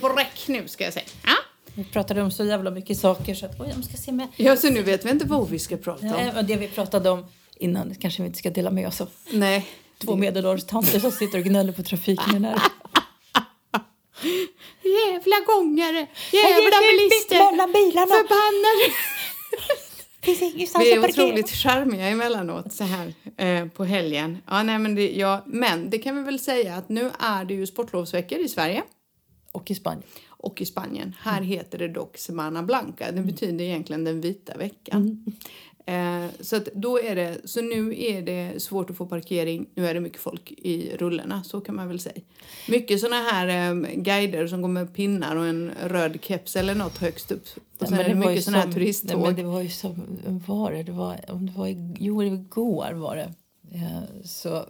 bräck nu ska jag säga. Ja. Vi pratade om så jävla mycket saker så att oj, de ska se med. Ja, så nu vet vi inte vad vi ska prata om. Nej, och det vi pratade om innan det kanske vi inte ska dela med oss av. Nej. Två medelålders tanter som sitter och gnäller på trafiken. Här. Jävla gångare! Jävla bilister! Mellan bilarna. Förbannade! Alltså, Finns ingenstans Vi att är parkera. otroligt charmiga emellanåt så här eh, på helgen. Ja, nej, men, det, ja, men det kan vi väl säga att nu är det ju sportlovsveckor i Sverige Och i Spanien. och i Spanien. Här Mm. heter det dock Semana Blanca. Det betyder egentligen den vita veckan. Mm. Eh, så, att då är det, så nu är det svårt att få parkering. Nu är det mycket folk i rullorna, så kan man väl säga. Mycket såna här eh, guider som går med pinnar och en röd keps eller något högst upp. Och sen är Men Alltså, det var ju mycket såna här som- turisttåg. Nej, men det var ju som, var det, det var, om det var i, jo, det var igår var det. Eh, Så,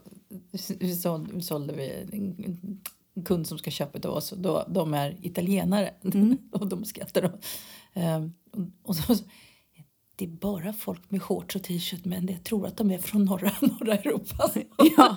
så sålde vi en en kund som ska köpa utav oss och då, de är italienare Mm. och de skrattar. då. Eh, Och, och så, det är bara folk med shorts och t-shirt men jag tror att de är från norra, norra Europa. Ja,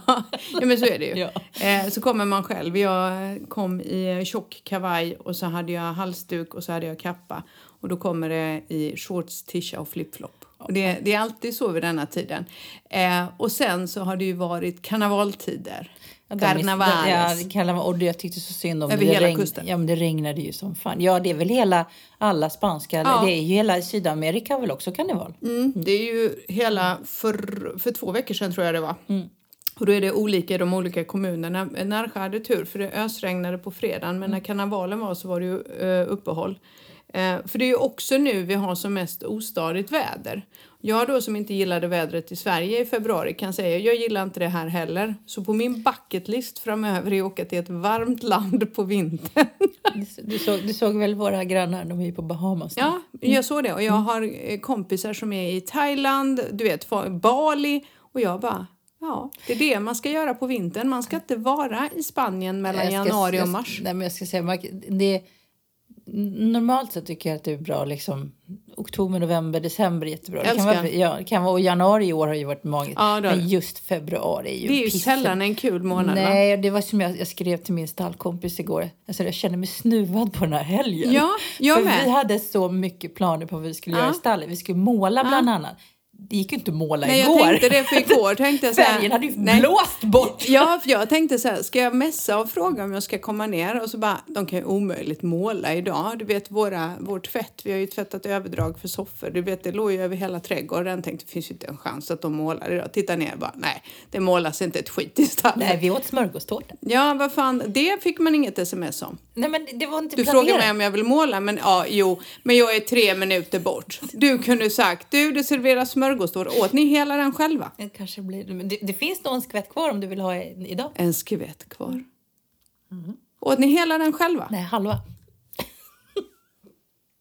ja, men så är det ju. Ja. Eh, så kommer man själv. Jag kom i tjock kavaj och så hade jag halsduk och så hade jag kappa. Och då kommer det i shorts, tisha och flipflop. Och det, det är alltid så vid denna tiden. Eh, och sen så har det ju varit karnevaltider. Karnavales. Ja, karneval. Och det- jag tyckte så synd om Över det. Det hela kusten. Ja, men det regnade ju som fan. Ja, det är väl hela, alla spanska, Ja. det är ju hela Sydamerika har väl också karneval? Mm, det är ju hela, för, för två veckor sedan tror jag det var. Och då är det olika i de olika kommunerna. Närsjö hade tur för det ösregnade på fredagen men när karnevalen var så var det ju eh, uppehåll. Eh, för det är ju också nu vi har som mest ostadigt väder. Jag då som inte gillade vädret i Sverige i februari kan säga jag gillar inte det här heller. Så på min bucketlist framöver är att åka till ett varmt land på vintern. Du, du, såg, du såg väl våra grannar, de är ju på Bahamas nu. Ja, Mm. jag såg det. Och jag har eh, kompisar som är i Thailand, du vet, fa- Bali. Och jag bara, ja, det är det man ska göra på vintern. Man ska inte vara i Spanien mellan Jag ska- januari och jag- mars. Nej, men jag ska säga, Mark, det, normalt sett tycker jag att det är bra liksom, oktober, november, december är jättebra. Det kan Älskar. vara, ja, det kan vara, och januari i år har ju varit magiskt. Ja, det har men det. just februari är ju Det är ju pissen. sällan en kul månad, va? Nej, det var som jag, jag skrev till min stallkompis igår. Alltså, jag känner mig snuvad på den här helgen. Ja, jag För med. vi hade så mycket planer på vad vi skulle Ja. göra i stallet. Vi skulle måla bland annat. Det gick ju inte att måla Nej, jag igår. tänkte det för igår. Tänkte jag så här, Färgen hade ju nej. blåst bort. Ja, för jag tänkte så här, ska jag messa och fråga om jag ska komma ner? Och så bara, de kan ju omöjligt måla idag. Du vet våra, vår tvätt, vi har ju tvättat överdrag för soffor. Du vet, det låg ju över hela trädgården. Tänkte, det finns ju inte en chans att de målar idag. Titta ner bara, nej, det målas inte ett skit i stallet. Nej, vi åt smörgåstårta. Ja, vad fan, det fick man inget sms om. Nej, men det- det var inte Du planerat. frågar mig om jag vill måla, men ja, jo, men jag är tre minuter bort. Du kunde sagt, du, det serveras smörgåstårta. Åt ni hela den själva? Det kanske blir... Men det, det finns någon skvätt kvar om du vill ha en idag. En skvätt kvar. Åt ni hela den själva? Mm. Nej, halva.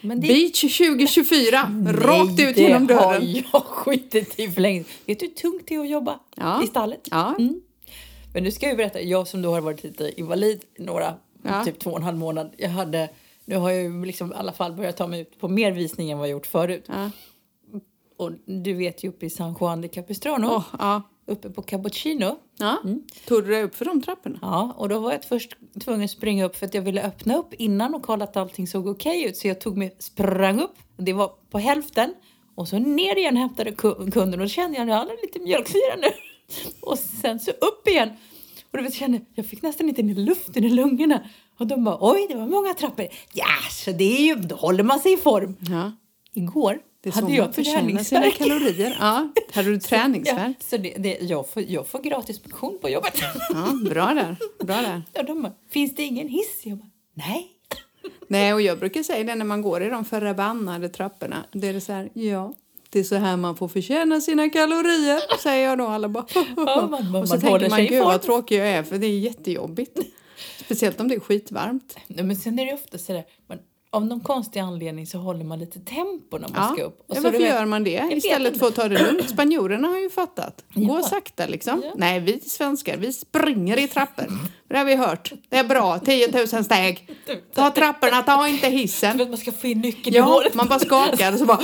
Men Beach 2024, rakt ut det genom har dörren. jag skitit i för länge Vet du hur tungt det är att jobba Ja. i stallet? Ja. Men nu ska jag ju berätta, jag som då har varit lite invalid i några, Ja. typ två och en halv månad. Jag hade, nu har jag ju liksom i alla fall börjat ta mig ut på mer visning än vad jag gjort förut. Ja. Och du vet ju uppe i San Juan de Capistrano, Åh, ja. uppe på Cappuccino. ja. Mm. Tog du dig upp för de trapporna? Ja, och då var jag först tvungen att springa upp för att jag ville öppna upp innan och kolla att allting såg okej ut. Så jag tog mig, sprang upp, det var på hälften och så ner igen hämtade ku- kunden och då kände jag att jag hade lite mjölksyra nu. Och sen så upp igen. Och du vet, jag kände, jag fick nästan inte ner luften i lungorna. Och de bara, oj det var många trappor. Ja, så det är ju, då håller man sig i form. Ja. Igår Det är så hade man jag förtjänar sina träningsvärk. kalorier. Ja. Hade du Ja, träningsvärk? så det, det, jag, får, jag får gratis motion på jobbet. Ja, bra där. Bra där. Ja, de bara, finns det ingen hiss? Jag bara, nej. Nej, och jag brukar säga det när man går i de förbannade trapporna. Det är det så här, ja, det är så här man får förtjäna sina kalorier, säger jag då. Alla bara... man- och så man håller tänker man, sig i gud vad form." tråkig jag är, för det är jättejobbigt. Speciellt om det är skitvarmt. Nej, men sen är det ofta sådär, man, av någon konstig anledning så håller man lite tempo när man ska upp. ja, så varför du vet- gör man det? vet Istället inte. för att ta det lugnt. Spanjorerna har ju fattat. Gå Ja. sakta liksom. Ja. Nej, vi svenskar, vi springer i trappor. Det har vi hört. Det är bra, 10 000 steg. Ta trapporna, ta inte hissen. Du vet, man ska få in nyckeln i Ja, hålet. man bara skakar och så bara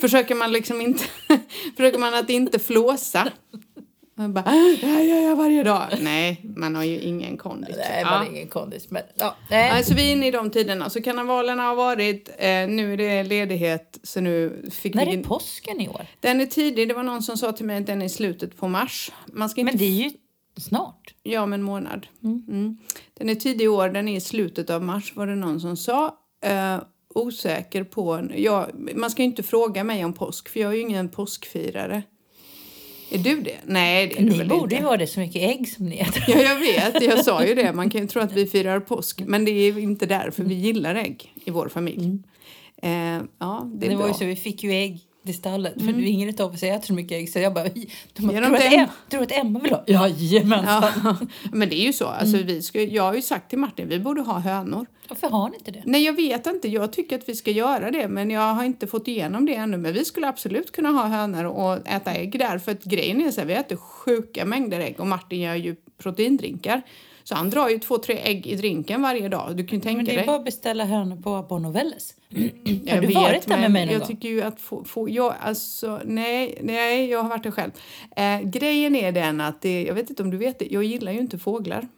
försöker man liksom inte, försöker man att inte flåsa. Man bara, "Ah, det här gör jag varje dag. Nej, man har ju ingen kondis. Nej, Ja. man är ingen kondis. Men, ja, nej. Alltså vi är inne i de tiderna. Så karnevalerna har varit, eh, nu är det ledighet. Så nu fick När vi... är påsken i år? Den är tidig. Det var någon som sa till mig att den är i slutet på mars. Man ska inte... Men det är ju snart. Ja, om en månad. Mm. Den är tidig i år. Den är i slutet av mars var det någon som sa. Eh, osäker på... Ja, man ska ju inte fråga mig om påsk för jag är ju ingen påskfirare. Är du det? Nej, det är du Ni väl borde ju inte. vara det så mycket ägg som ni äter. Ja, jag vet. Jag sa ju det. Man kan ju tro att vi firar påsk. Men det är inte därför vi gillar ägg i vår familj. Eh, ja, det Det, är Mm. var bra. ju så, vi fick ju ägg till stallet. För mm. ingen av oss äter så mycket ägg. Så jag bara, "Oj, de bara Ger tror, de du att till Em- tror du att Emma vill ha? Jajamensan. Ja, men det är ju så. Alltså, Mm. vi ska, jag har ju sagt till Martin, vi borde ha hönor. Varför har ni inte det? Nej, jag vet inte. Jag tycker att vi ska göra det, men jag har inte fått igenom det ännu. Men vi skulle absolut kunna ha hönor och äta ägg där. För att grejen är så här, vi äter sjuka mängder ägg och Martin gör ju proteindrinkar. Så han drar ju två, tre ägg i drinken varje dag. Du kan ju tänka Men det dig. är bara att beställa hönor på Bonovelles. Jag Har du vet, varit där med men mig någon Jag gång? tycker ju att få, få jag, alltså, nej, nej, jag har varit där själv. Eh, grejen är den att, det, jag vet inte om du vet det, jag gillar ju inte fåglar.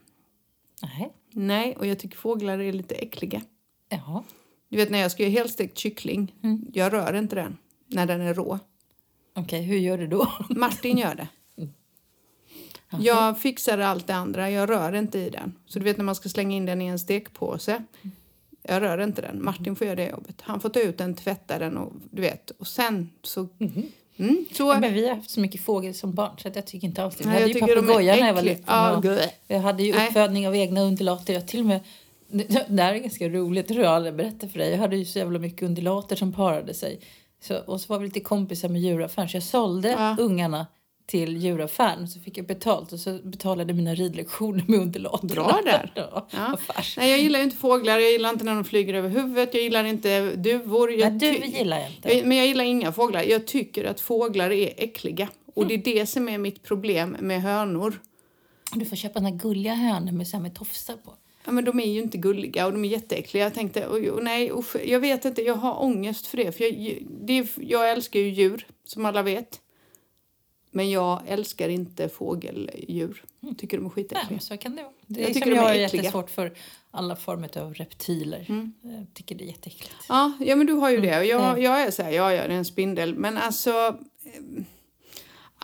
Nej. Nej, och jag tycker fåglar är lite äckliga. Jaha. Du vet när jag ska göra helstekt kyckling, Mm. jag rör inte den när den är rå. Okej, hur gör du då? Martin gör det. Mm. Jag fixar allt det andra, jag rör inte i den. Så du vet när man ska slänga in den i en Mm. stekpåse. Jag rör inte den. Martin får göra det jobbet. Han får ta ut den, tvätta den och du vet. Och sen så... Mm, så Mm-hmm. Men vi har haft så mycket fågel som barn så att jag tycker inte alls det. Vi Nej, hade jag ju tycker de är papegoja när jag var äckliga. liten. Ja, och gud. jag hade ju Nej. uppfödning av egna undulater. Jag till och med, det här är ganska roligt, tror jag aldrig berättar för dig. Jag hade ju så jävla mycket undulater som parade sig. Så, och så var vi lite kompisar med djuraffären så jag sålde Ja. ungarna till djuraffären. Så fick jag betalt och så betalade mina ridlektioner med undulaterna. Bra där. ja, Ja. vad fars. Nej, jag gillar ju inte fåglar, jag gillar inte när de flyger över huvudet, jag gillar inte duvor. Jag Men du ty- gillar jag inte. Jag- Men jag gillar inga fåglar. Jag tycker att fåglar är äckliga. Och det är det som är mitt problem med hönor. Du får köpa såna här gulliga hönor med, så här med tofsar på. Ja, men de är ju inte gulliga och de är jätteäckliga. Jag tänkte, oj, oj, nej, usch, jag vet inte, jag har ångest för det. För jag, det är, jag älskar ju djur, som alla vet. Men jag älskar inte fågeldjur. Tycker de är Nej, skitäckliga. men så kan det vara. Det Jag är tycker som de är jag har äckliga. Mm. jättesvårt för alla former av reptiler. Jag tycker det är jätteäckligt. Ja, ja men du har ju det. Och jag, jag är så här, ja, ja, det är en spindel. Men alltså... eh,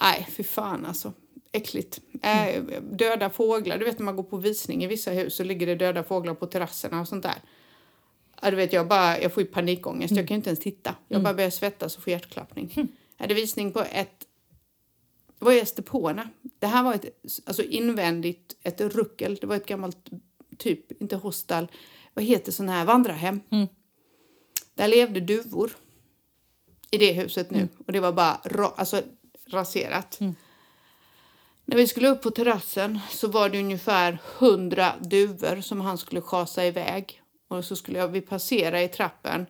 Nej, fy fan alltså. Äckligt. Eh, döda fåglar. Du vet när man går på visning i vissa hus så ligger det döda fåglar på terrasserna och sånt där. Ja, du vet, jag, bara, jag får ju panikångest. Jag kan ju inte ens titta. Jag bara börjar svettas och får hjärtklappning. Jag hade visning på ett... Vad är Estepona? Det här var ett alltså invändigt ett ruckel. Det var ett gammalt typ, inte hostel. Vad heter sån här vandrarhem? Där levde duvor i det huset nu och det var bara ra- alltså, raserat. När vi skulle upp på terrassen så var det ungefär 100 duvor som han skulle schasa iväg och så skulle jag, vi passera i trappen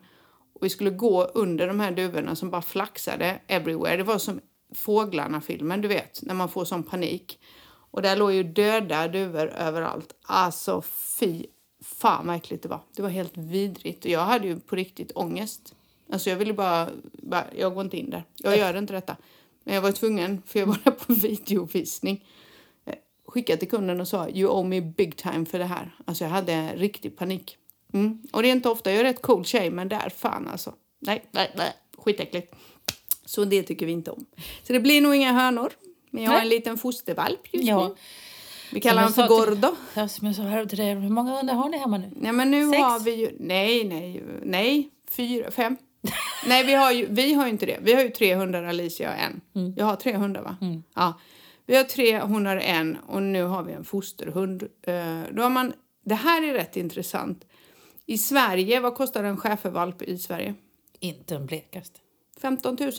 och vi skulle gå under de här duvorna som bara flaxade everywhere. Det var som Fåglarna-filmen, du vet, när man får sån panik. Och där låg ju döda duvor överallt. Alltså fy fan vad äckligt det var. Det var helt vidrigt och jag hade ju på riktigt ångest. Alltså jag ville bara, bara jag går inte in där. Jag gör inte detta. Men jag var tvungen för jag var där på videovisning. Eh, Skickade till kunden och sa you owe me big time för det här. Alltså jag hade riktig panik. Mm. Och det är inte ofta, jag är rätt cool tjej men där fan alltså. Nej, nej, nej. Skitäckligt. Så det tycker vi inte om. Så det blir nog inga hönor. Men jag har Nej. en liten fostervalp just nu. Ja, Vi kallar honom Som för jag sa till- Gordo. ja, som jag sa här till dig, hur många hundar har ni hemma nu? Nej, men nu Sex? har vi ju... Nej, nej, nej. Fyra, fem. nej, vi har, ju, vi har ju inte det. Vi har ju tre hundar, Alicia och en. Mm. Jag har tre hundar, va? Ja. Vi har tre hundar och en och nu har vi en fosterhund. Eh, Då har man, det här är rätt intressant. I Sverige, vad kostar en schäfervalp i Sverige? Inte en blekaste. 15 000.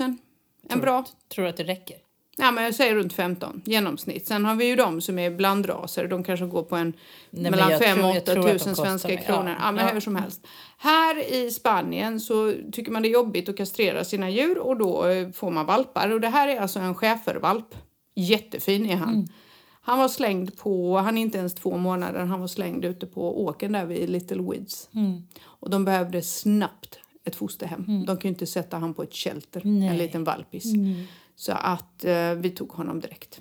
En bra. Tror du att det räcker? Ja, men jag säger runt 15 genomsnitt. Sen har vi ju de som är blandraser. De kanske går på en men mellan jag 5 tror- och jag 8 tror att de tusen kostar svenska mer. Ja, kronor. Ja, men ja. hur som helst. Här i Spanien så tycker man det är jobbigt att kastrera sina djur och då eh, får man valpar. Och det här är alltså en schäfervalp. Jättefin är Mm. han. Han var slängd på, han är inte ens två månader, han var slängd ute på åken där vid Little Woods. Och de behövde snabbt ett fosterhem. De kunde inte sätta han på ett shelter, en liten valpis. Så att eh, vi tog honom direkt.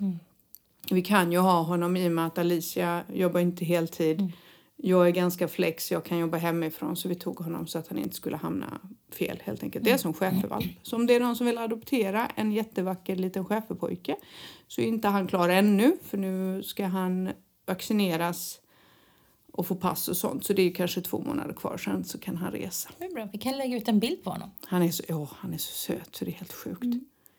Vi kan ju ha honom i och med att Alicia jobbar inte heltid. Jag är ganska flex, jag kan jobba hemifrån så vi tog honom så att han inte skulle hamna fel helt enkelt. Det är som schäfervalp. Så om det är någon som vill adoptera en jättevacker liten schäferpojke så är inte han klar ännu för nu ska han vaccineras och få pass och sånt. Så det är kanske två månader kvar sen så kan han resa. Det är bra. Vi kan lägga ut en bild på honom. Han är så, ja, han är så söt så det är helt sjukt.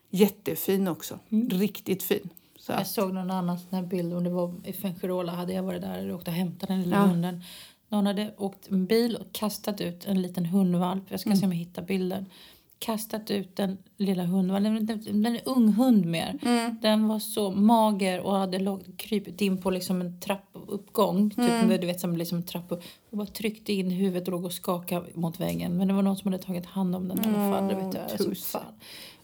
Jättefin också. Riktigt fin. Så Jag att, såg någon annan sån här bild, om det var i Fuengirola hade jag varit där och åkt och hämtat den lilla Ja. hunden. Någon hade åkt en bil och kastat ut en liten hundvalp, jag ska se om jag hittar bilden. Kastat ut den lilla hundvalpen, den- den är en ung hund mer. Den var så mager och hade låg- krypit in på liksom en trappuppgång, typ, du vet som liksom en trappa och bara tryckte in huvudet och låg och skakade mot väggen. Men det var någon som hade tagit hand om den i alla fall. det vet jag, alltså, tusen. fan.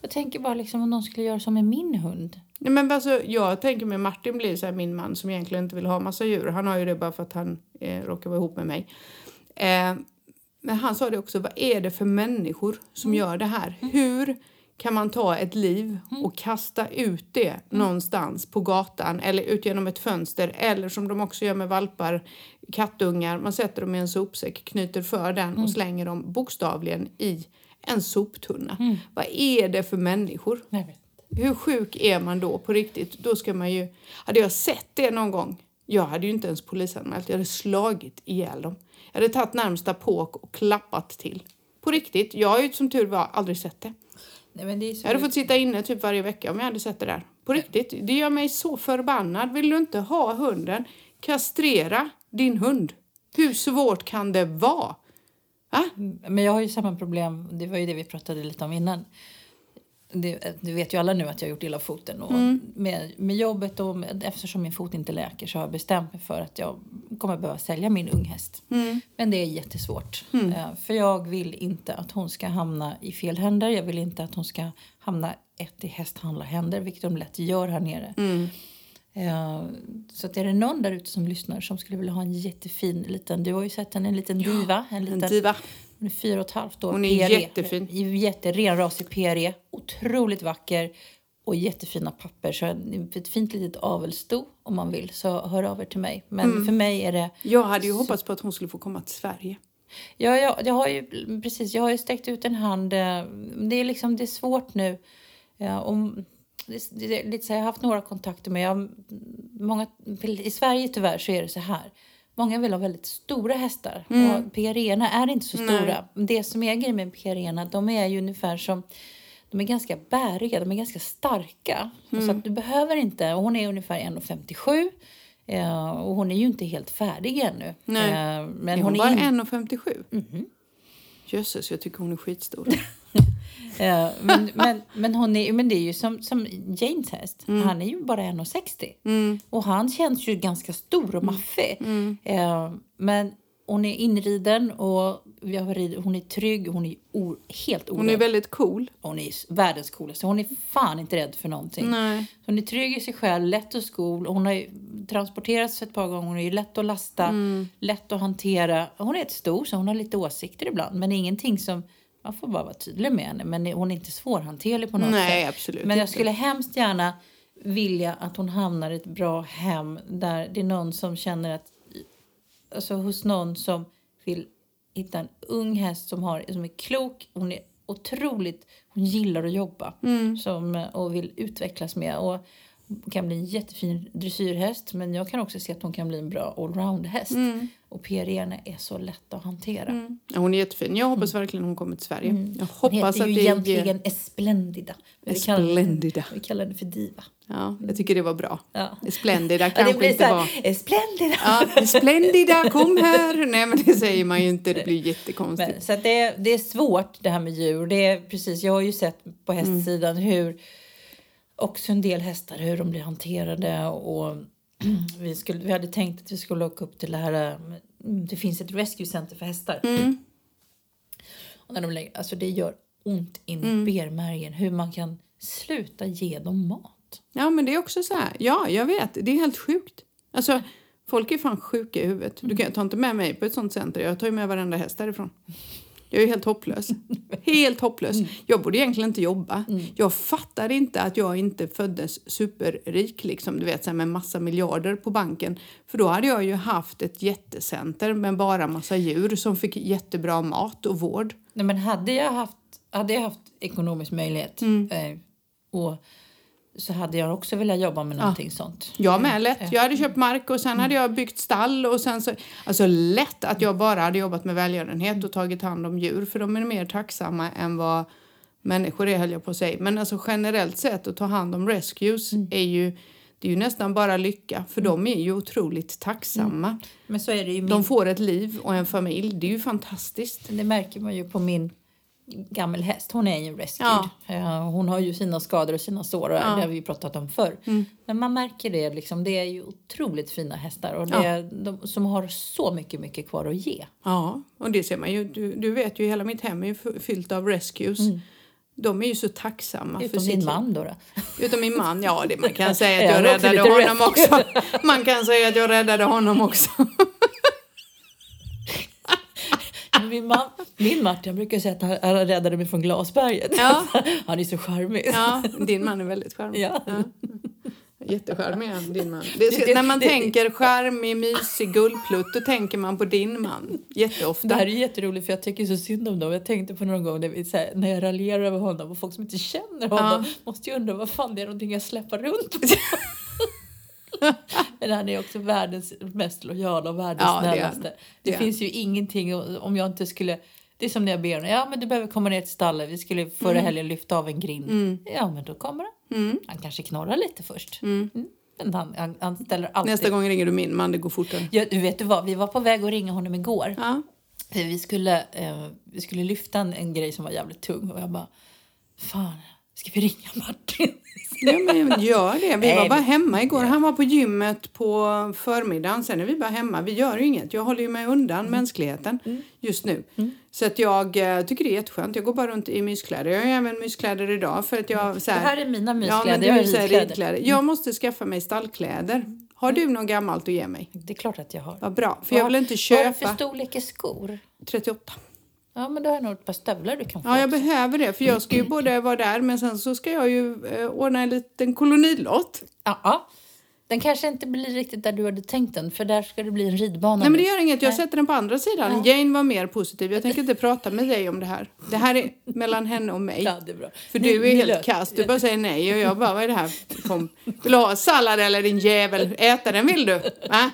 jag tänker bara liksom om någon skulle göra som med min hund. nej men alltså, jag tänker mig Martin blir så här min man som egentligen inte vill ha massa djur. Han har ju det bara för att han eh, råkar vara ihop med mig. Eh, men han sa det också, vad är det för människor som gör det här? Hur kan man ta ett liv och kasta ut det någonstans på gatan eller ut genom ett fönster eller som de också gör med valpar, kattungar, man sätter dem i en sopsäck, knyter för den och slänger dem bokstavligen i en soptunna. Vad är det för människor? Nej, men- Hur sjuk är man då på riktigt? Då ska man ju... Hade jag sett det någon gång, jag hade ju inte ens polisanmält. Jag hade slagit ihjäl dem. Jag hade tagit närmsta påk och klappat till. På riktigt. Jag har ju som tur var aldrig sett det. Nej, men det är så Jag hade fått sitta inne typ varje vecka om jag hade sett det där. På riktigt. Det gör mig så förbannad. Vill du inte ha hunden, kastrera din hund. Hur svårt kan det vara? Va? Men jag har ju samma problem, det var ju det vi pratade lite om innan. Det, det vet ju alla nu att jag har gjort illa foten. Och med, med jobbet och med, eftersom min fot inte läker så har jag bestämt mig för att jag kommer behöva sälja min unghäst. Men det är jättesvårt. Eh, För jag vill inte att hon ska hamna i fel händer. Jag vill inte att hon ska hamna ett i hästhandlarhänder, vilket de lätt gör här nere. Eh, Så att är det någon där ute som lyssnar som skulle vilja ha en jättefin liten, du har ju sett en, en liten diva, en En liten diva. hon är fyra och ett halvt år. E. Hon är PRE. jättefin. Jätteren rasig PRE. E. Otroligt vacker. Och jättefina papper. Så en- ett fint litet avelsto om man vill. Så hör av er till mig. Men Mm. för mig är det... Jag hade ju hoppats på att hon skulle få komma till Sverige. Ja, jag, jag, har ju, precis, jag har ju sträckt ut en hand. eh, Det är, liksom, det är svårt nu. Ja, om, det, det, det, är lite så här, jag har haft några kontakter men jag, många, I Sverige tyvärr så är det så här. Många vill ha väldigt stora hästar Mm. och PREna är inte så stora. Det som är grejen med PREna, de är ju ungefär som de är ganska bäriga, de är ganska starka. Så Mm. att du behöver inte, och hon är ungefär 1,57 eh, och hon är ju inte helt färdig ännu. Nej. Eh, Men Är hon hon, är Mhm. bara inte- 1,57? Jösses, jag tycker hon är skitstor. Eh, men, men, men, hon är, men det är ju som, som Janes häst. Mm. Han är ju bara 1,60. Och han känns ju ganska stor Mm. och maffig. Eh, men hon är inriden och jag har rid- hon är trygg. Hon är o, helt orädd. Hon är väldigt cool. Hon är s- världens coolaste. Hon är fan inte rädd för någonting. Nej. Hon är trygg i sig själv, lätt att skol. Hon har ju transporterats ett par gånger. Hon är ju lätt att lasta, Mm. lätt att hantera. Hon är ett stor så hon har lite åsikter ibland. Men ingenting som... Man får bara vara tydlig med henne. Men hon är inte svårhanterlig på något Nej, sätt. absolut Men jag inte. skulle hemskt gärna vilja att hon hamnar i ett bra hem där det är någon som känner att... Alltså hos någon som vill hitta en ung häst som, har, som är klok. Hon är otroligt... Hon gillar att jobba Mm, som, eh, och vill utvecklas med. Och kan bli en jättefin dressyrhäst men jag kan också se att hon kan bli en bra allroundhäst. Mm. Och PRN är så lätt att hantera. Ja, Hon är jättefin. Jag hoppas verkligen hon kommer till Sverige. Jag Mm. Hon hoppas heter att ju det egentligen Esplendida. Men vi kallar- Esplendida. Vi kallar henne för Diva. Ja, jag tycker det var bra. Ja. Splendida Mm. Ja, kanske det blir så inte var... här, Esplendida! Ja, Splendida, kom här! Nej, men det säger man ju inte. Det blir jättekonstigt. Men, så att det, är- det är svårt det här med djur. Det är, precis, jag har ju sett på hästsidan hur också en del hästar hur de blir hanterade och vi, skulle, vi hade tänkt att vi skulle åka upp till det här eh, det finns ett rescue center för hästar. Mm. Och när de lägger, alltså det gör ont in i benmärgen hur man kan sluta ge dem mat. Ja, men det är också så här. Ja, jag vet. Det är helt sjukt. Alltså, folk är fan sjuka i huvudet. Du kan, ta inte med mig på ett sånt center. Jag tar ju med varenda häst därifrån. Jag är ju helt hopplös. Helt hopplös. Jag borde egentligen inte jobba. Jag fattar inte att jag inte föddes superrik, liksom, du vet, så här med massa miljarder på banken. För då hade jag ju haft ett jättecenter med bara massa djur som fick jättebra mat och vård. Nej, men hade jag haft, hade jag haft ekonomisk möjlighet eh, och så hade jag också velat jobba med någonting sånt. Jag med, lätt. Jag hade köpt mark och sen hade jag byggt stall och sen så... Alltså lätt att jag bara hade jobbat med välgörenhet och tagit hand om djur för de är mer tacksamma än vad människor är höll jag på att säga. Men alltså generellt sett att ta hand om rescues är ju... Det är ju nästan bara lycka för de är ju otroligt tacksamma. Men så är det ju min, De får ett liv och en familj. Det är ju fantastiskt. det märker man ju på min gammel häst. Hon är ju rescued. Eh, Hon har ju sina skador och sina sår och det har vi ju pratat om förr. Mm. Men man märker det liksom. Det är ju otroligt fina hästar och det är de som har så mycket, mycket kvar att ge. Ja, och det ser man ju. Du, du vet ju, hela mitt hem är ju f- fyllt av rescues. De är ju så tacksamma för Utom sitt din liv. man då. då. Utom min man, ja det man kan säga att Ja, jag det var räddade lite honom rätt. också. Man kan säga att jag räddade honom också. Min, man, min Martin brukar säga att han, han räddade mig från glasberget. Ja. Han är så charmig. Ja, din man är väldigt charmig. Ja. Jättecharmig är han, din man. Det, Det- det- när man det- tänker charmig, mysig, gullplutt då tänker man på din man Det jätteofta. här är jätteroligt för jag tycker så synd om dem. Jag tänkte på någon gång när, vi, så här, när jag raljerar över honom och folk som inte känner honom måste ju undra vad fan det är någonting jag släpper runt på. Men han är också världens mest lojala och världens Ja, det är han. snällaste. Det Det, är han. finns ju ingenting o- om jag inte skulle det är som när jag ber honom, ja men du behöver komma ner till stallet, vi skulle förra Mm. helgen lyfta av en grind. Ja men då kommer han. Han kanske knorrar lite först. Mm. Men han, han, han ställer alltid... Nästa gång ringer du min man, det går fortare. Ja, du vet du vad, vi var på väg att ringa honom igår. Ja. För vi skulle, eh, vi skulle lyfta en, en grej som var jävligt tung och jag bara, fan, ska vi ringa Martin? Ja, men gör det. Vi Nej, var bara men- hemma igår. Han var på gymmet på förmiddagen. Sen är vi bara hemma. Vi gör ju inget. Jag håller ju mig undan Mm. mänskligheten just nu. Så att jag eh, tycker det är jätteskönt. Jag går bara runt i myskläder. Jag har ju även myskläder idag för att jag så Mm. Det här, här är mina ja, men myskläder, Mm. du jag har är så här ridkläder. ridkläder. Jag måste skaffa mig stallkläder. Har du något gammalt att ge mig? Det är klart att jag har. Vad bra, för jag vill inte Vad är det för köpa storlek i skor? 38. Ja, men då har jag nog ett par stövlar du kan få. Ja, jag behöver det för jag ska ju både vara där men sen så ska jag ju eh, ordna en liten kolonilott. Ja, ja. Den kanske inte blir riktigt där du hade tänkt den, för där ska det bli en ridbana. Nej men nu. det gör inget, jag sätter den på andra sidan. Jane var mer positiv. Jag tänker inte prata med dig om det här. Det här är mellan henne och mig. Ja, det är bra. För Ni- du är ni helt löser- kass. Du bara säger nej och jag bara, vad är det här? Kom. Vill du ha sallad eller din jävel? Äta den vill du? Va?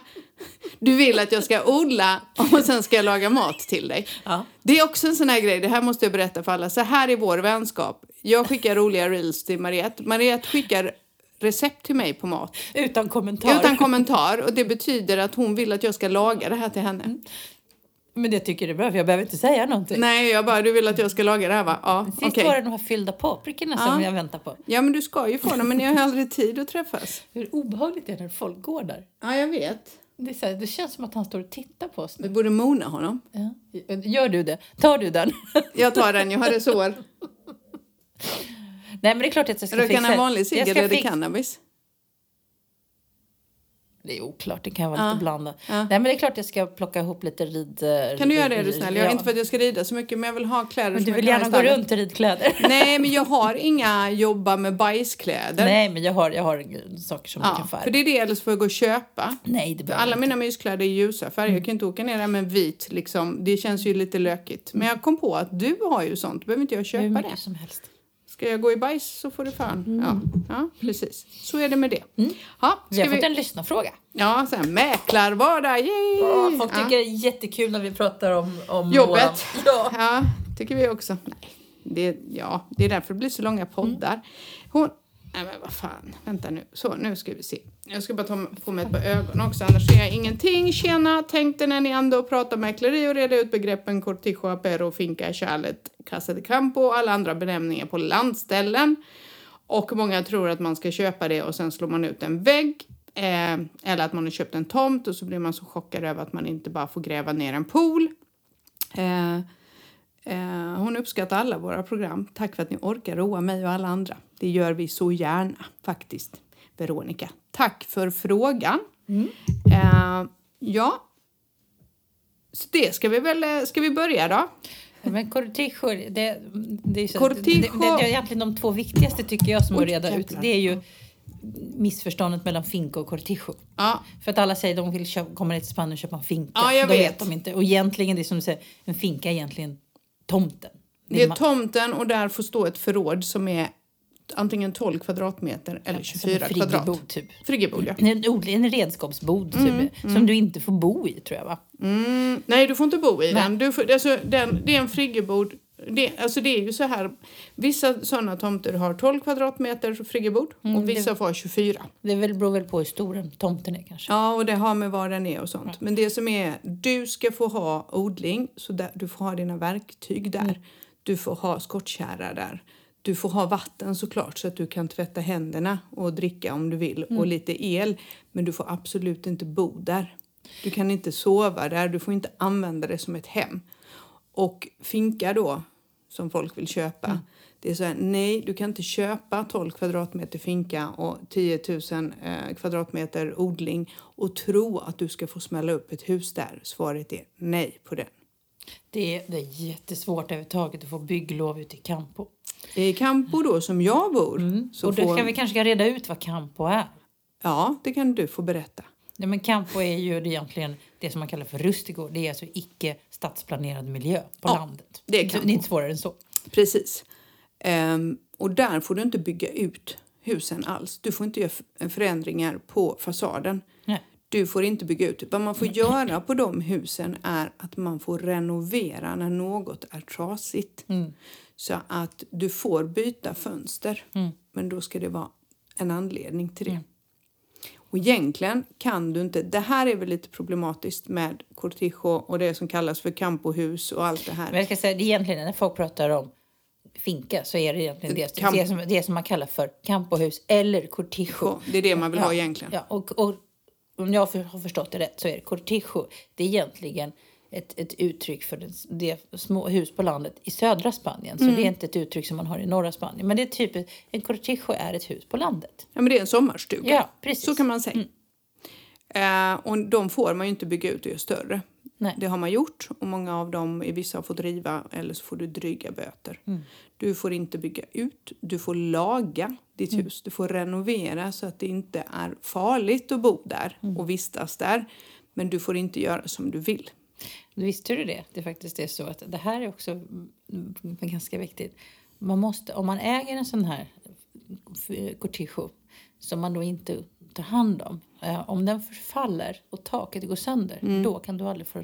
Du vill att jag ska odla och sen ska jag laga mat till dig. Ja. Det är också en sån här grej, det här måste jag berätta för alla. Så här är vår vänskap. Jag skickar roliga reels till Mariette. Mariette skickar recept till mig på mat. Utan kommentar. Utan kommentar. Och det betyder att hon vill att jag ska laga det här till henne. Men det tycker jag är bra, för jag behöver inte säga någonting. Nej, jag bara, du vill att jag ska laga det här va? Ja, Sist okej. var det de här fyllda paprikorna som jag väntar på. Ja, men du ska ju få dem, men ni har ju aldrig tid att träffas. Hur obehagligt det är när folk går där. Ja, jag vet. Det, är så här, det känns som att han står och tittar på oss. Vi borde mona honom. Ja. Gör du det? Tar du den? Jag tar den, jag har ett sår. Nej, men det är klart att jag ska Röker fixa han en vanlig cigg Jag eller ska är det fixa- cannabis? Det är oklart, det kan vara lite blandat. ja. Nej, men det är klart jag ska plocka ihop lite rid... Kan du göra det är du snäll? Jag, ja. Inte för att jag ska rida så mycket, men jag vill ha kläder Men som Du jag vill kan ha i gärna gå stallet. runt i ridkläder. Nej, men jag har inga jobba med bajskläder. Nej, men jag har, jag har saker som du ja, kan för få här. det är det, eller så får jag gå och köpa. Nej, det behöver Alla mina myskläder är ljusa färger. Jag kan inte åka ner där med en vit. Liksom. Det känns ju lite lökigt. Men jag kom på att du har ju sånt. Behöver inte jag jag köpa Hur det? mycket som helst. Ska jag gå i bajs så får du fan. Ja, ja, precis. Så är det med det. Ja, Mm. Vi ska har vi... fått en lyssnarfråga. ja så här, mäklarvardag, yay! Ja, folk ja. tycker det är jättekul när vi pratar om, om Jobbet. våran- Ja. Ja, tycker vi också. Nej, det, ja, det är därför det blir så långa poddar. Hon... Nej men vad fan, vänta nu. Så, nu ska vi se. Jag ska bara ta på mig ett par ögon också, annars ser jag ingenting. Tjena, tänkte när ni ändå pratar mäkleri och reda ut begreppen cortijo, apero, finca, chalet, casa de campo och alla andra benämningar på landställen. Och många tror att man ska köpa det och sen slår man ut en vägg. Eh, eller att man har köpt en tomt och så blir man så chockad över att man inte bara får gräva ner en pool. Eh, eh, hon uppskattar alla våra program. Tack för att ni orkar roa mig och alla andra. Det gör vi så gärna faktiskt, Veronica. Tack för frågan. Mm. Eh, ja, så det ska vi väl, eh, ska vi börja då? Men cortijo, det, det är så, Cortijo. Det, det, det är egentligen de två viktigaste tycker jag som Oj, att reda ut. jävlar. Det är ju missförståndet mellan finka och cortijo. Ja, För att alla säger att de vill köpa, komma ner till Spanien och köpa en finka. Ja, jag Då vet. vet de inte. Och egentligen, det är som du säger, en finka är egentligen tomten. det är ma- tomten och där får stå ett förråd som är antingen 12 kvadratmeter eller som en 24 kvadrat. friggebod, typ. Friggebod, ja. En, odling- en redskapsbod typ, som du inte får bo i tror jag va? Mm, nej, du får inte bo i Nej. den. Du får, alltså, den. Det är en friggebod. Det, alltså det är ju så här, vissa sådana tomter har 12 kvadratmeter friggebod och vissa får 24. Det väl, beror väl på hur stor den tomten är kanske. Ja, och det har med vad den är och sånt. Men det som är, du ska få ha odling, så där, du får ha dina verktyg där. Du får ha skottkärra där. Du får ha vatten såklart så att du kan tvätta händerna och dricka om du vill och lite el. Men du får absolut inte bo där. Du kan inte sova där, du får inte använda det som ett hem. Och finka då, som folk vill köpa. Mm. Det är så här, nej, du kan inte köpa 12 kvadratmeter finka och 10 000 eh, kvadratmeter odling och tro att du ska få smälla upp ett hus där. Svaret är nej på den. Det är, det är jättesvårt överhuvudtaget att få bygglov ute i Campo. Det är i Campo då, som jag bor. Så Mm. och då får, kan vi kanske reda ut vad Campo är. Ja, det kan du få berätta. Nej, men Campo är ju det egentligen det som man kallar för rustigård. Det är alltså icke stadsplanerad miljö på Ja, landet. det är Så Campo. det är inte svårare än så. Precis. Ehm, och där får du inte bygga ut husen alls. Du får inte göra f- förändringar på fasaden. Nej. Du får inte bygga ut. Vad man får göra på de husen är att man får renovera när något är trasigt. Mm. Så att du får byta fönster. Mm. Men då ska det vara en anledning till det. Och egentligen kan du inte, det här är väl lite problematiskt med cortijo och det som kallas för campohus och allt det här. Men jag ska säga, det är egentligen när folk pratar om finka så är det egentligen det, Camp- det, som, det som man kallar för campohus eller cortijo. Det är det man vill ha Ja, egentligen. Ja, och, och om jag för- har förstått det rätt så är det cortijo. Det är egentligen ett, ett uttryck för den, det små hus på landet i södra Spanien. Så det är inte ett uttryck som man har i norra Spanien. Men det är typ, en cortijo är ett hus på landet. Ja, men det är en sommarstuga. Ja, precis. Mm. Så kan man säga. Eh, och de får man ju inte bygga ut och göra större. Nej. Det har man gjort och många av dem, i vissa har fått riva eller så får du dryga böter. Mm. Du får inte bygga ut, du får laga ditt Mm. hus, du får renovera så att det inte är farligt att bo där Mm. och vistas där. Men du får inte göra som du vill. Visste du det? Det faktiskt är så att det här är också mm, mm, ganska viktigt. Man måste, om man äger en sån här f- cortijo som man då inte tar hand om. eh, Om den förfaller och taket går sönder, då kan du aldrig få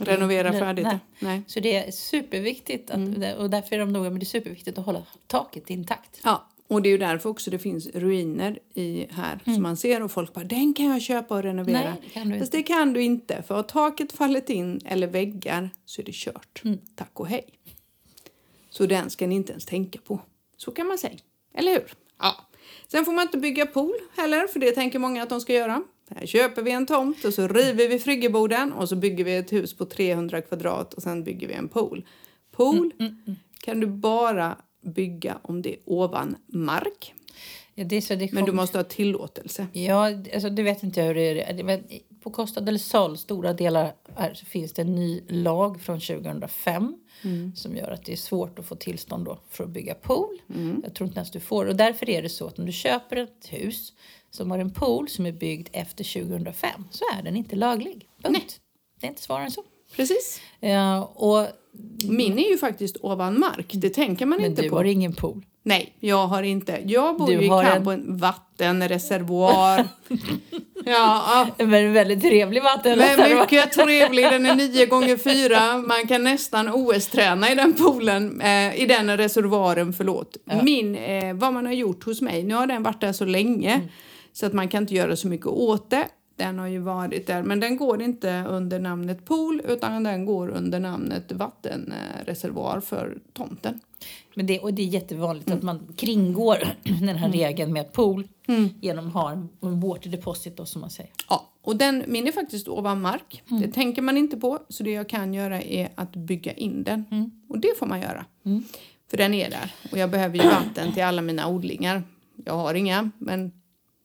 Renovera färdigt. Nej. Nej. Så det är superviktigt att, Mm. och därför är de noga med det är superviktigt att hålla taket intakt. Ja, och det är ju därför också det finns ruiner i här som man ser och folk bara den kan jag köpa och renovera. Mm. Nej, det kan du Fast det kan du inte för har taket fallit in eller väggar så är det kört. Tack och hej. Så den ska ni inte ens tänka på. Så kan man säga, eller hur? Ja. Sen får man inte bygga pool heller för det tänker många att de ska göra. Här köper vi en tomt och så river vi friggeboden och så bygger vi ett hus på 300 kvadrat och sen bygger vi en pool. Pool kan du bara bygga om det är ovan mark. Ja, Det är så det Men du kommer- måste ha tillåtelse. Ja, alltså, det vet inte jag hur det är. Men på Costa del Sol, stora delar, här, så finns det en ny lag från 2005 Mm. som gör att det är svårt att få tillstånd då för att bygga pool. Mm. Jag tror inte ens du får Och därför är det så att om du köper ett hus som har en pool som är byggd efter 2005 så är den inte laglig. Punkt. Det är inte svårare än så. Precis. Ja, och, Min är ju faktiskt ovan mark. Det tänker man men inte du på. har ingen pool. Nej, jag har inte. Jag bor Du ju i har Cannes en- på en vattenreservoar. ja, ja. Men en väldigt trevlig Men vattenreservoar. mycket trevlig. Den är 9 gånger 4 Man kan nästan OS-träna i den poolen, eh, i den reservoaren, förlåt. Min, eh, vad man har gjort hos mig, nu har den varit där så länge så att man kan inte göra så mycket åt det. Den har ju varit där, men den går inte under namnet pool utan den går under namnet vattenreservoar för tomten. Men det, och det är jättevanligt att man kringgår den här regeln med pool genom att ha en, en water deposit då, som man säger. Ja, och den, min är faktiskt ovan mark. Det tänker man inte på. Så det jag kan göra är att bygga in den. Och det får man göra. För den är där. Och jag behöver ju vatten till alla mina odlingar. Jag har inga, men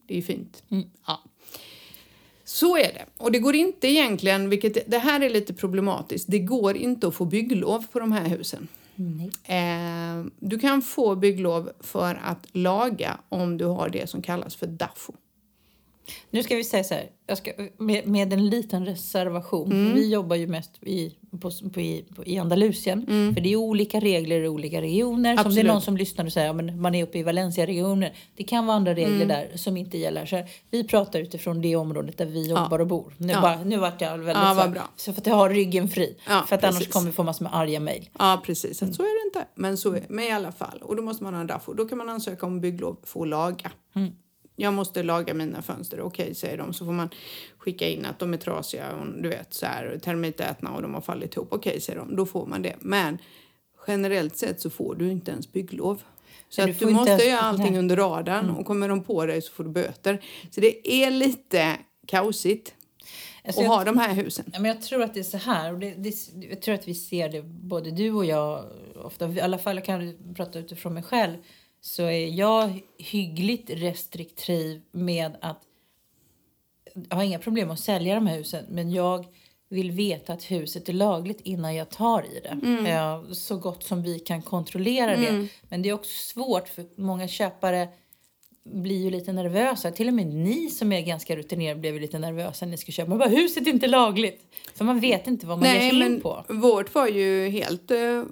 det är fint. Ja. Så är det. Och det går inte egentligen, vilket det här är lite problematiskt, det går inte att få bygglov på de här husen. Nej. Eh, du kan få bygglov för att laga om du har det som kallas för DAFO. Nu ska vi säga så här, jag ska, med, med en liten reservation. Mm. Vi jobbar ju mest i, på, på, i, på, i Andalusien. För det är olika regler i olika regioner. Som det är Mm. Absolut. någon som lyssnar och säger ja, men man är uppe i Valencia-regionen. Det kan vara andra regler Mm. där som inte gäller. Så här, vi pratar utifrån det området där vi jobbar och bor. Nu, Ja. bara, nu vart jag väldigt Ja, vad så, här- bra. så för att jag har ryggen fri. Ja, för att annars precis. kommer vi få massor med arga mejl. Ja, precis. Mm. Så är det inte. Men, så är, men i alla fall. Och då måste man ha en DAFO. Då kan man ansöka om bygglov för att laga. Mm. Jag måste laga mina fönster. Okej, säger de. Så får man skicka in att de är trasiga och du vet så här och termitätna och de har fallit ihop. Okej, säger de. Då får man det. Men generellt sett så får du inte ens bygglov. Så Men du att får du inte måste ens- göra allting nej. Mm. under radarn och kommer de på dig så får du böter. Så det är lite kaosigt Alltså att jag- ha de här husen. Ja, men jag tror att det är så här. Och det, det, jag tror att vi ser det, både du och jag, ofta, i alla fall kan jag prata utifrån mig själv, så är jag hyggligt restriktiv med att... Jag har inga problem att sälja de här husen, men jag vill veta att huset är lagligt innan jag tar i det. Mm. Eh, Så gott som vi kan kontrollera det. Men det är också svårt, för många köpare blir ju lite nervösa. Till och med ni som är ganska rutinerade blev ju lite nervösa när ni skulle köpa. Man bara, huset är inte lagligt. För man vet inte vad man ger sig in på. vårt var ju helt eh, eh,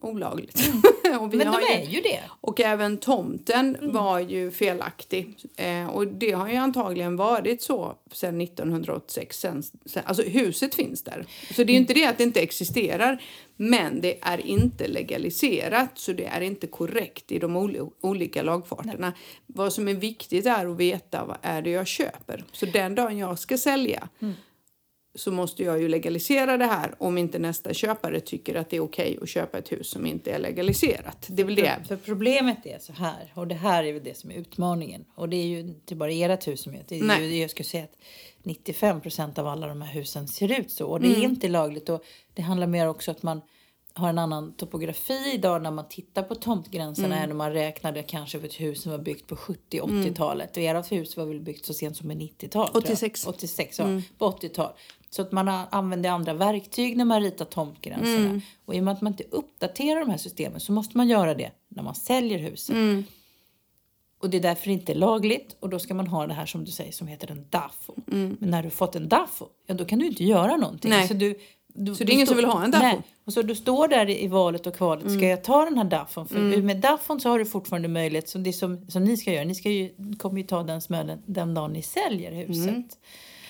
olagligt. och vi Mm. Men har de ju- är ju det. Och även tomten var ju felaktig. Eh, och det har ju antagligen varit så sedan 1986. Sen, sen, alltså huset finns där. Så det är ju inte det att det inte existerar. Men det är inte legaliserat så det är inte korrekt i de oli- olika lagfarterna. Vad som är viktigt är att veta vad är det jag köper. Så den dagen jag ska sälja så måste jag ju legalisera det här om inte nästa köpare tycker att det är okej att köpa ett hus som inte är legaliserat. Det är väl det För problemet är så här, och det här är väl det som är utmaningen. Och det är ju inte bara ert hus som är det. Är Nej. ju, jag skulle säga att 95 procent av alla de här husen ser ut så. Och det är Mm. inte lagligt. Och det handlar mer också att man har en annan topografi idag när man tittar på tomtgränserna Mm. än om man räknade kanche för ett hus som var byggt på 70-80-talet. Och ert hus var väl byggt så sent som i 90-talet? tror jag. 86. 86, ja, på 80-tal. Så att man har- använder andra verktyg när man ritar tomtgränserna. Och i och med att man inte uppdaterar de här systemen så måste man göra det när man säljer huset. Och det är därför det inte är lagligt och då ska man ha det här som du säger som heter en DAFO. Men när du fått en DAFO, ja då kan du inte göra någonting. Nej. Så, du, du, Så det är du ingen står- som vill ha en Mm. DAFO? Nej. Och så du står där i valet och kvalet, ska jag ta den här DAFON? För Mm. med DAFON så har du fortfarande möjlighet, så det som, som ni ska göra, ni ska ju, kommer ju ta den smällen den dagen ni säljer huset. Mm.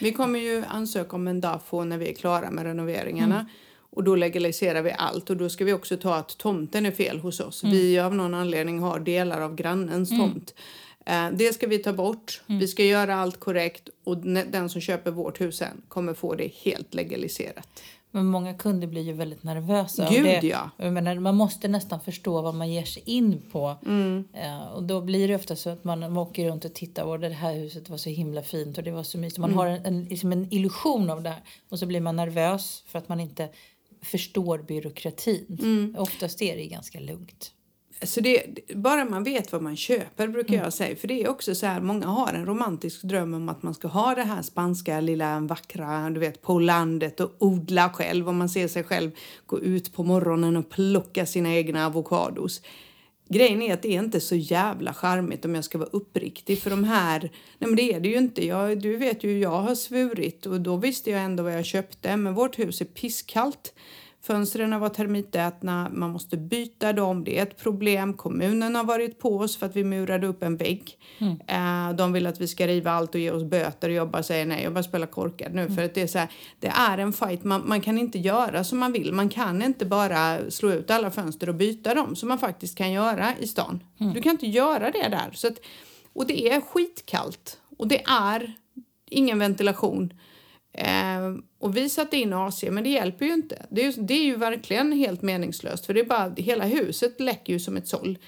Vi kommer ju ansöka om en DAFO när vi är klara med renoveringarna. Och då legaliserar vi allt och då ska vi också ta att tomten är fel hos oss. Vi av någon anledning har delar av grannens tomt. Eh, Det ska vi ta bort. Vi ska göra allt korrekt och ne- den som köper vårt hus sen kommer få det helt legaliserat. Men många kunder blir ju väldigt nervösa. Gud, och det, ja. jag menar, man måste nästan förstå vad man ger sig in på. Mm. Eh, och då blir det ofta så att man, man åker runt och tittar och det här huset var så himla fint och det var så mysigt. Mm. Man har en, en, liksom en illusion av det här. Och så blir man nervös för att man inte förstår byråkratin. Mm. Oftast är det ganska lugnt. Så det, bara man vet vad man köper brukar jag säga. För det är också så här, många har en romantisk dröm om att man ska ha det här spanska lilla vackra, du vet, på landet och odla själv. Och man ser sig själv gå ut på morgonen och plocka sina egna avokados. Grejen är att det är inte så jävla charmigt om jag ska vara uppriktig för de här, nej men det är det ju inte. Jag, du vet ju, jag har svurit och då visste jag ändå vad jag köpte. Men vårt hus är pisskallt. Fönstren var termitätna, man måste byta dem, det är ett problem. Kommunen har varit på oss för att vi murade upp en vägg. Eh, De vill att vi ska riva allt och ge oss böter och jag bara säger nej, jag bara spelar korkad nu. För att det är så här, det är en fight, man, man kan inte göra som man vill. Man kan inte bara slå ut alla fönster och byta dem som man faktiskt kan göra i stan. Du kan inte göra det där. Så att, och det är skitkallt och det är ingen ventilation. Ehm, och vi satte in AC, men det hjälper ju inte. Det är ju, det är ju verkligen helt meningslöst för det är bara, hela huset läcker ju som ett såll.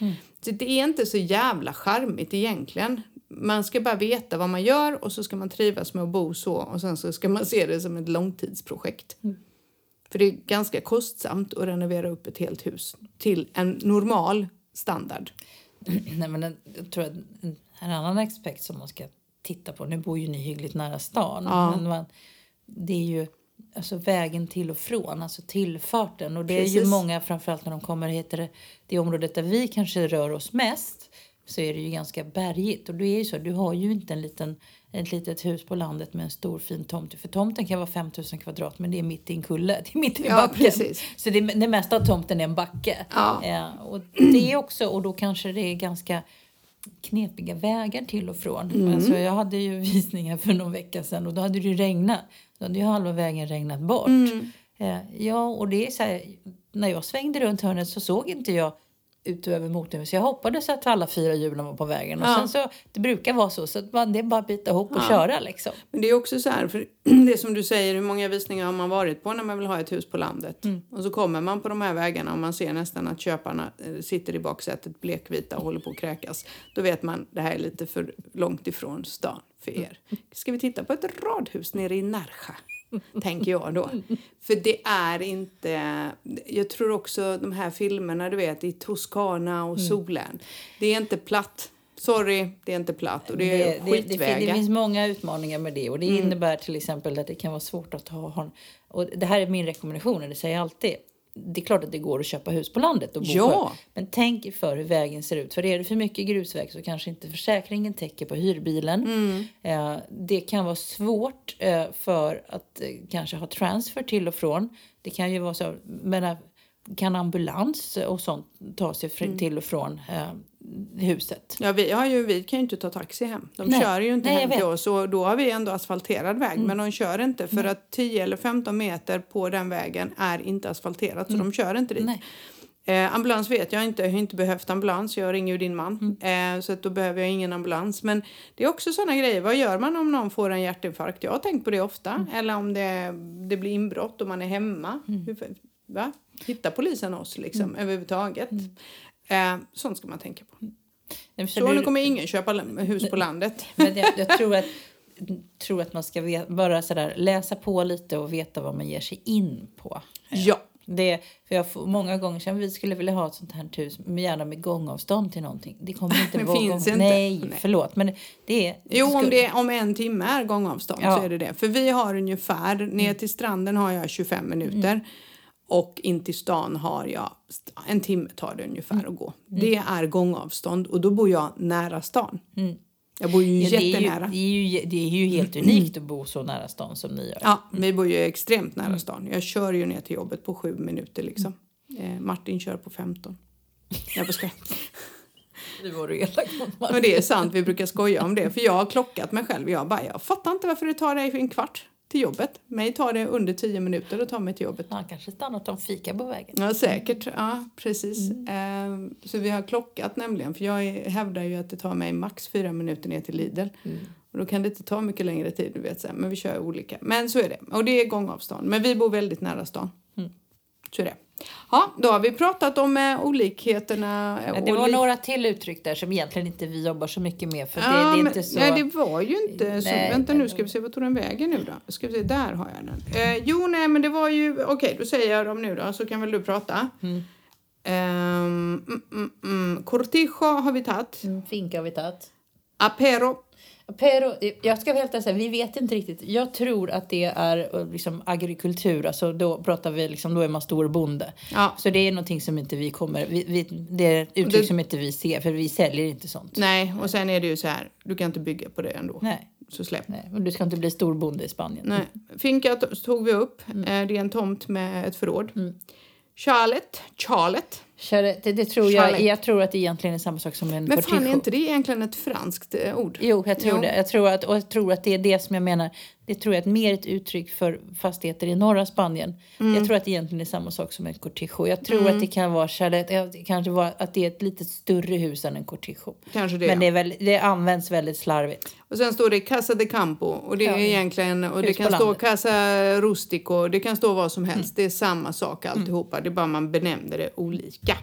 Så det är inte så jävla charmigt egentligen. Man ska bara veta vad man gör och så ska man trivas med att bo så och sen så ska man se det som ett långtidsprojekt. För det är ganska kostsamt att renovera upp ett helt hus till en normal standard. Nej, men en- jag tror att en, en annan aspekt som man ska titta på. Nu bor ju ni hyggligt nära stan. Ja. Men man, det är ju alltså vägen till och från, alltså tillfarten. Och det är ju Precis. många, framförallt när de kommer heter det, det området där vi kanske rör oss mest så är det ju ganska bergigt. Och det är ju så, du har ju inte en liten, ett litet hus på landet med en stor fin tomt. För tomten kan vara 5000 kvadrat men det är mitt i en kulle, det är mitt i Ja, backen. precis. Så det, det mesta av tomten är en backe. Ja. Eh, och det är också, och då kanske det är ganska knepiga vägar till och från. Mm. Alltså jag hade ju visningar för någon vecka sedan och då hade det ju regnat. Då hade ju halva vägen regnat bort. Mm. Eh, ja, och det är så här, när jag svängde runt hörnet så såg inte jag ut över motorn. Så jag hoppades att alla fyra hjulen var på vägen. Och Ja. sen så, det brukar vara så, så att man, det är bara att bita ihop och köra liksom. Men det är också så här, för det som du säger, hur många visningar har man varit på när man vill ha ett hus på landet? Mm. Och så kommer man på de här vägarna och man ser nästan att köparna eh, sitter i baksätet blekvita och håller på att kräkas. Då vet man, det här är lite för långt ifrån stan för er. Mm. Ska vi titta på ett radhus nere i Närsjö? Tänker jag då. Mm. För det är inte... Jag tror också de här filmerna, du vet, i Toscana och Mm. solen. Det är inte platt. Sorry, det är inte platt. Och det är Mm. det, det, skitvägar. fin- det finns många utmaningar med det och det innebär till exempel att det kan vara svårt att ha ha en- och det här är min rekommendation och det säger jag alltid. Det är klart att det går att köpa hus på landet och bo Ja. på. Men tänk er för hur vägen ser ut. För är det för mycket grusväg så kanske inte försäkringen täcker på hyrbilen. Mm. Eh, det kan vara svårt eh, för att eh, kanske ha transfer till och från. Det kan ju vara så, men eh, kan ambulans och sånt ta sig fri- Mm. till och från eh, huset? Ja, vi, har ju, vi kan ju inte ta taxi hem. De Nej. kör ju inte Nej, jag hem till vet. Mm. oss och då har vi ändå asfalterad väg. Men de kör inte för att 10 eller 15 meter på den vägen är inte asfalterat så de kör inte dit. Mm. Nej. Eh, ambulans vet jag inte, jag har inte behövt ambulans. Jag ringer ju din man Mm. eh, så att då behöver jag ingen ambulans. Men det är också sådana grejer. Vad gör man om någon får en hjärtinfarkt? Jag har tänkt på det ofta. Mm. Eller om det, det blir inbrott och man är hemma. Hur, va? Hittar polisen oss liksom Mm. överhuvudtaget? Eh, sånt ska man tänka på. Men Så nu du- kommer ingen köpa l- hus på landet. Men jag, jag tror, att, tror att man ska ve- bara sådär, läsa på lite och veta vad man ger sig in på. Ja. Det, för jag får många gånger sedan vi skulle vilja ha ett sånt här hus, men gärna med gångavstånd till någonting. Det kommer inte Det vara finns gång. inte. Nej, Nej. förlåt. Men det är... Jo, om, skulle- det, om en timme är gångavstånd Ja. Mm. så är det det. För vi har ungefär, ner till stranden har jag 25 minuter och in till stan har jag, en timme tar det ungefär Mm. att gå. Det är gångavstånd och då bor jag nära stan. Jag bor ju Mm. Ja, det, är ju, jättenära. det, är ju, det är ju helt unikt att bo så nära stan som ni gör. Ja, vi bor ju extremt nära Mm. stan. Jag kör ju ner till jobbet på sju minuter liksom. Mm. Eh, Martin kör på 15. Jag bara skojar. Nu var du elak mot mig. Men det är sant, vi brukar skoja om det. För jag har klockat mig själv. Jag bara, jag fattar inte varför det tar dig en kvart till jobbet. Mig tar det under 10 minuter att ta mig till jobbet. Han kanske stannat och fika på vägen. Ja, säkert. Ja, precis. Mm. Ehm, så vi har klockat nämligen. För jag är- hävdar ju att det tar mig max fyra minuter ner till Lidl. Mm. Och då kan det inte ta mycket längre tid, du vet. Så här. Men vi kör olika. Men så är det. Och det är gångavstånd. Men vi bor väldigt nära stan. Mm. Så är det. Ja, då har vi pratat om eh, olikheterna. eh, Ja, och Det var lik- några till uttryck där som egentligen inte vi jobbar så mycket med. För det, det Ja, är men- inte så... Nej, det var ju inte så. Nej, Vänta men- nu, ska vi se, vad tog den vägen nu då? Ska vi se, där har jag den. Eh, jo, nej, men det var ju, okej, då säger jag dem nu då, så kan väl du prata. Mm. mm, mm, mm. Cortijo har vi tagit. Mm, Finka har vi tagit. Apero. Pero, jag ska vara helt ärlig, säga, vi vet inte riktigt. Jag tror att det är eh, liksom, agrikultur, alltså, då, pratar vi, liksom, då är man stor bonde. Ja. Så det är någonting som inte vi kommer... Vi, vi, det är ett uttryck Det- som inte vi ser, för vi säljer inte sånt. Nej, och sen är det ju så här, du kan inte bygga på det ändå. Nej. Så släpp. Nej. Och du ska inte bli stor bonde i Spanien. Nej. Finka t- tog vi upp. Mm. Eh, det är en tomt med ett förråd. Charlotte. Charlotte. Charlotte, det, det tror jag, Charlotte. jag tror att det egentligen är samma sak som en Men fan, cortijo. är inte det egentligen ett franskt eh, ord? Jo, jag tror Jo. det. Jag tror, att, och jag tror att det är det som jag menar. Det tror jag är mer ett uttryck för fastigheter i norra Spanien. Jag tror att det egentligen är samma sak som en cortijo. Jag tror att det kan vara chalet, ja, det kanske var att det är ett lite större hus än en cortijo. Kanske det. Men det, är väl, det används väldigt slarvigt. Och sen står det Casa de Campo och det är Ja, egentligen och det hus på kan stå landet. Mm. Casa Rustico, det kan stå vad som helst. Det är samma sak alltihopa, det är bara man benämner det olika.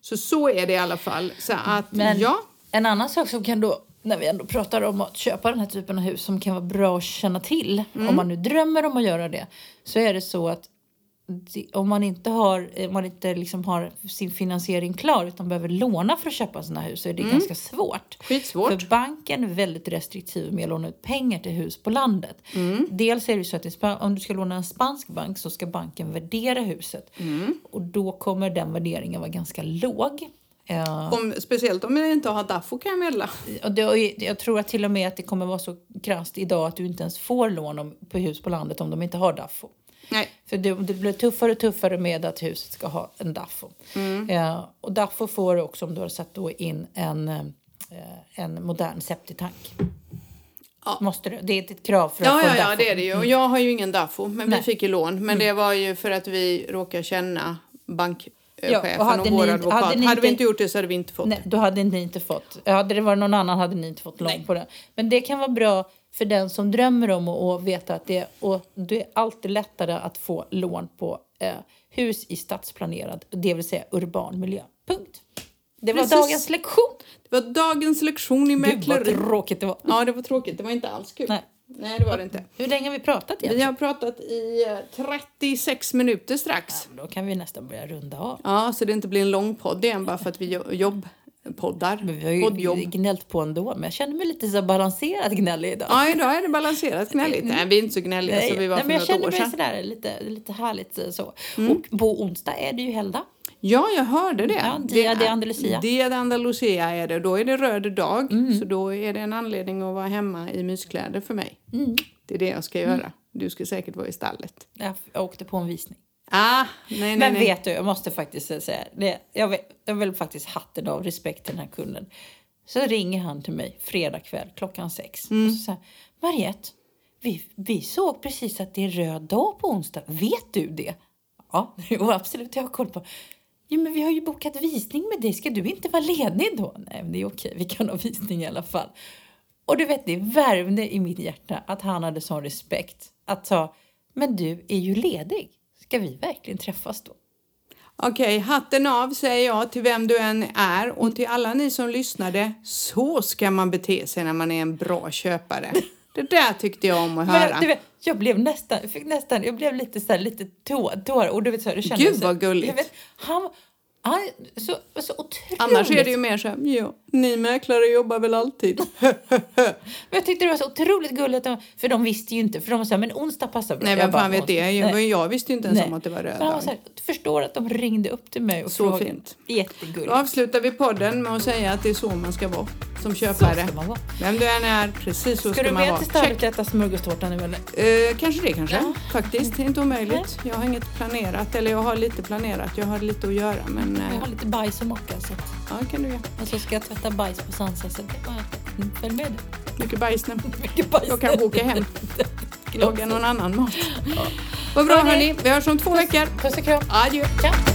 Så så är det i alla fall. Så att Mm. Men ja, en annan sak som kan då, när vi ändå pratar om att köpa den här typen av hus som kan vara bra att känna till, om man nu drömmer om att göra det, så är det så att det- om man inte har, om man inte liksom har sin finansiering klar utan behöver låna för att köpa sina hus så är det ganska svårt. Skitsvårt. För banken är väldigt restriktiv med att låna ut pengar till hus på landet. Dels är det ju så att i Spa- om du ska låna en spansk bank så ska banken värdera huset. Och då kommer den värderingen vara ganska låg. Eh, Om, speciellt om jag inte har Daffo kan jag meddela. och det, och jag tror att till och med att det kommer vara så krasst idag att du inte ens får lån om, på hus på landet om de inte har Daffo. Nej. För det, det blir tuffare och tuffare med att huset ska ha en Daffo. Mm. Eh, och Daffo får du också om du har satt då in en, eh, en modern septitank. Ja. Måste du, det är ett krav för att Ja, få ja, en ja, Daffo. Mm. det är det ju. Och jag har ju ingen Daffo, men Nej. Mm. vi fick ju lån. Men det var ju för att vi råkar känna Ja, och bankchefen och, hade ni- vår advokat. hade Hade, ni vi inte- inte gjort det så hade vi inte fått Nej, då hade ni inte fått. Hade det varit någon annan hade ni inte fått lån på det. Men det kan vara bra för den som drömmer om att att veta att det, och det är alltid lättare att få lån på eh, hus i stadsplanerad, det vill säga urban miljö. Punkt. Det var Precis. dagens lektion. det. var dagens lektion i Gud vad mäkleri. tråkigt det var. Ja, det var tråkigt. Det var inte alls kul. Nej. Nej, det var det inte. Hur länge har vi pratat igen? Vi har pratat i eh, 36 minuter strax. Då kan vi nästan börja runda av. Ja, så det inte blir en lång podd igen bara för att vi jo- jobbpoddar. Men vi har ju Poddjobb. gnällt på ändå, men jag känner mig lite så balanserad gnällig idag. Ja, idag är det balanserat gnälligt. Nej, vi är inte så gnälliga som vi var Mm. för nej, men jag något känner år mig sedan. Mm. sådär lite, lite härligt eh, så. Och på onsdag är det ju helgdag. Ja, jag hörde det. Ja, Dia de Andalusia. Mm. Dia de Andalusia är det. Då är det röd dag. Så då är det en anledning att vara hemma i myskläder för mig. Mm. Det är det jag ska göra. Du ska säkert vara i stallet. Jag f- Jag åkte på en visning. Ah, nej, nej, Men nej. vet du, jag måste faktiskt säga det. Jag vill, jag vill faktiskt hatten av respekt till den här kunden. Så ringer han till mig fredag kväll klockan sex. Och så säger han, Mariette, vi, vi såg precis att det är röd dag på onsdag. Vet du det? Ja, jo, absolut, jag har koll på. Ja, men vi har ju bokat visning med dig. Ska du inte vara ledig då? Nej, men det är okej. Vi kan ha visning i alla fall. Och du vet, det värmde i mitt hjärta att han hade sån respekt. Att sa, men du är ju ledig. Ska vi verkligen träffas då? Okej, hatten av säger jag till vem du än är och till alla ni som lyssnade. Så ska man bete sig när man är en bra köpare. Det där tyckte jag om att Men höra. jag, du vet, jag blev nästan, fick nästan, jag blev lite så här, lite tå, tår. Och du vet så här, du kände Gud, så här, vad gulligt. jag Vet, han, han så, så otroligt. Annars är det ju mer så här, ja, ni mäklare jobbar väl alltid. Men jag tyckte det var så otroligt gulligt. För de visste ju inte. För de sa, men onsdag passar bra. Nej, Jag vem bara, fan vet det? "Onsdag." Jag, jag visste ju inte ens Nej. om att det var röd Men han var dag. så här, du förstår att de ringde upp till mig och Så frågade. fint. Jättegulligt. Då avslutar vi podden med att säga att det är så man ska vara som så köpare. ska man vara. Vem du än är, precis så Ska ska, du man med vara. till Check. Stallberget och äta smörgåstårta nu eller? Eh, kanske det kanske. Faktiskt, det är inte omöjligt. Jag har inget planerat, eller jag har lite planerat. Jag har lite att göra, men eh, Jag har lite bajs och mocka så att, ja, det kan du göra. och så ska jag tvätta bajs på Sansa så det är bara att mm, följ med dig. Mycket bajs nu. Mycket bajs. Jag kanske åker hem. Lagar någon annan mat. Vad bra Hörni. hörni, vi hörs om två veckor. Puss och kram. Adjö. Ciao.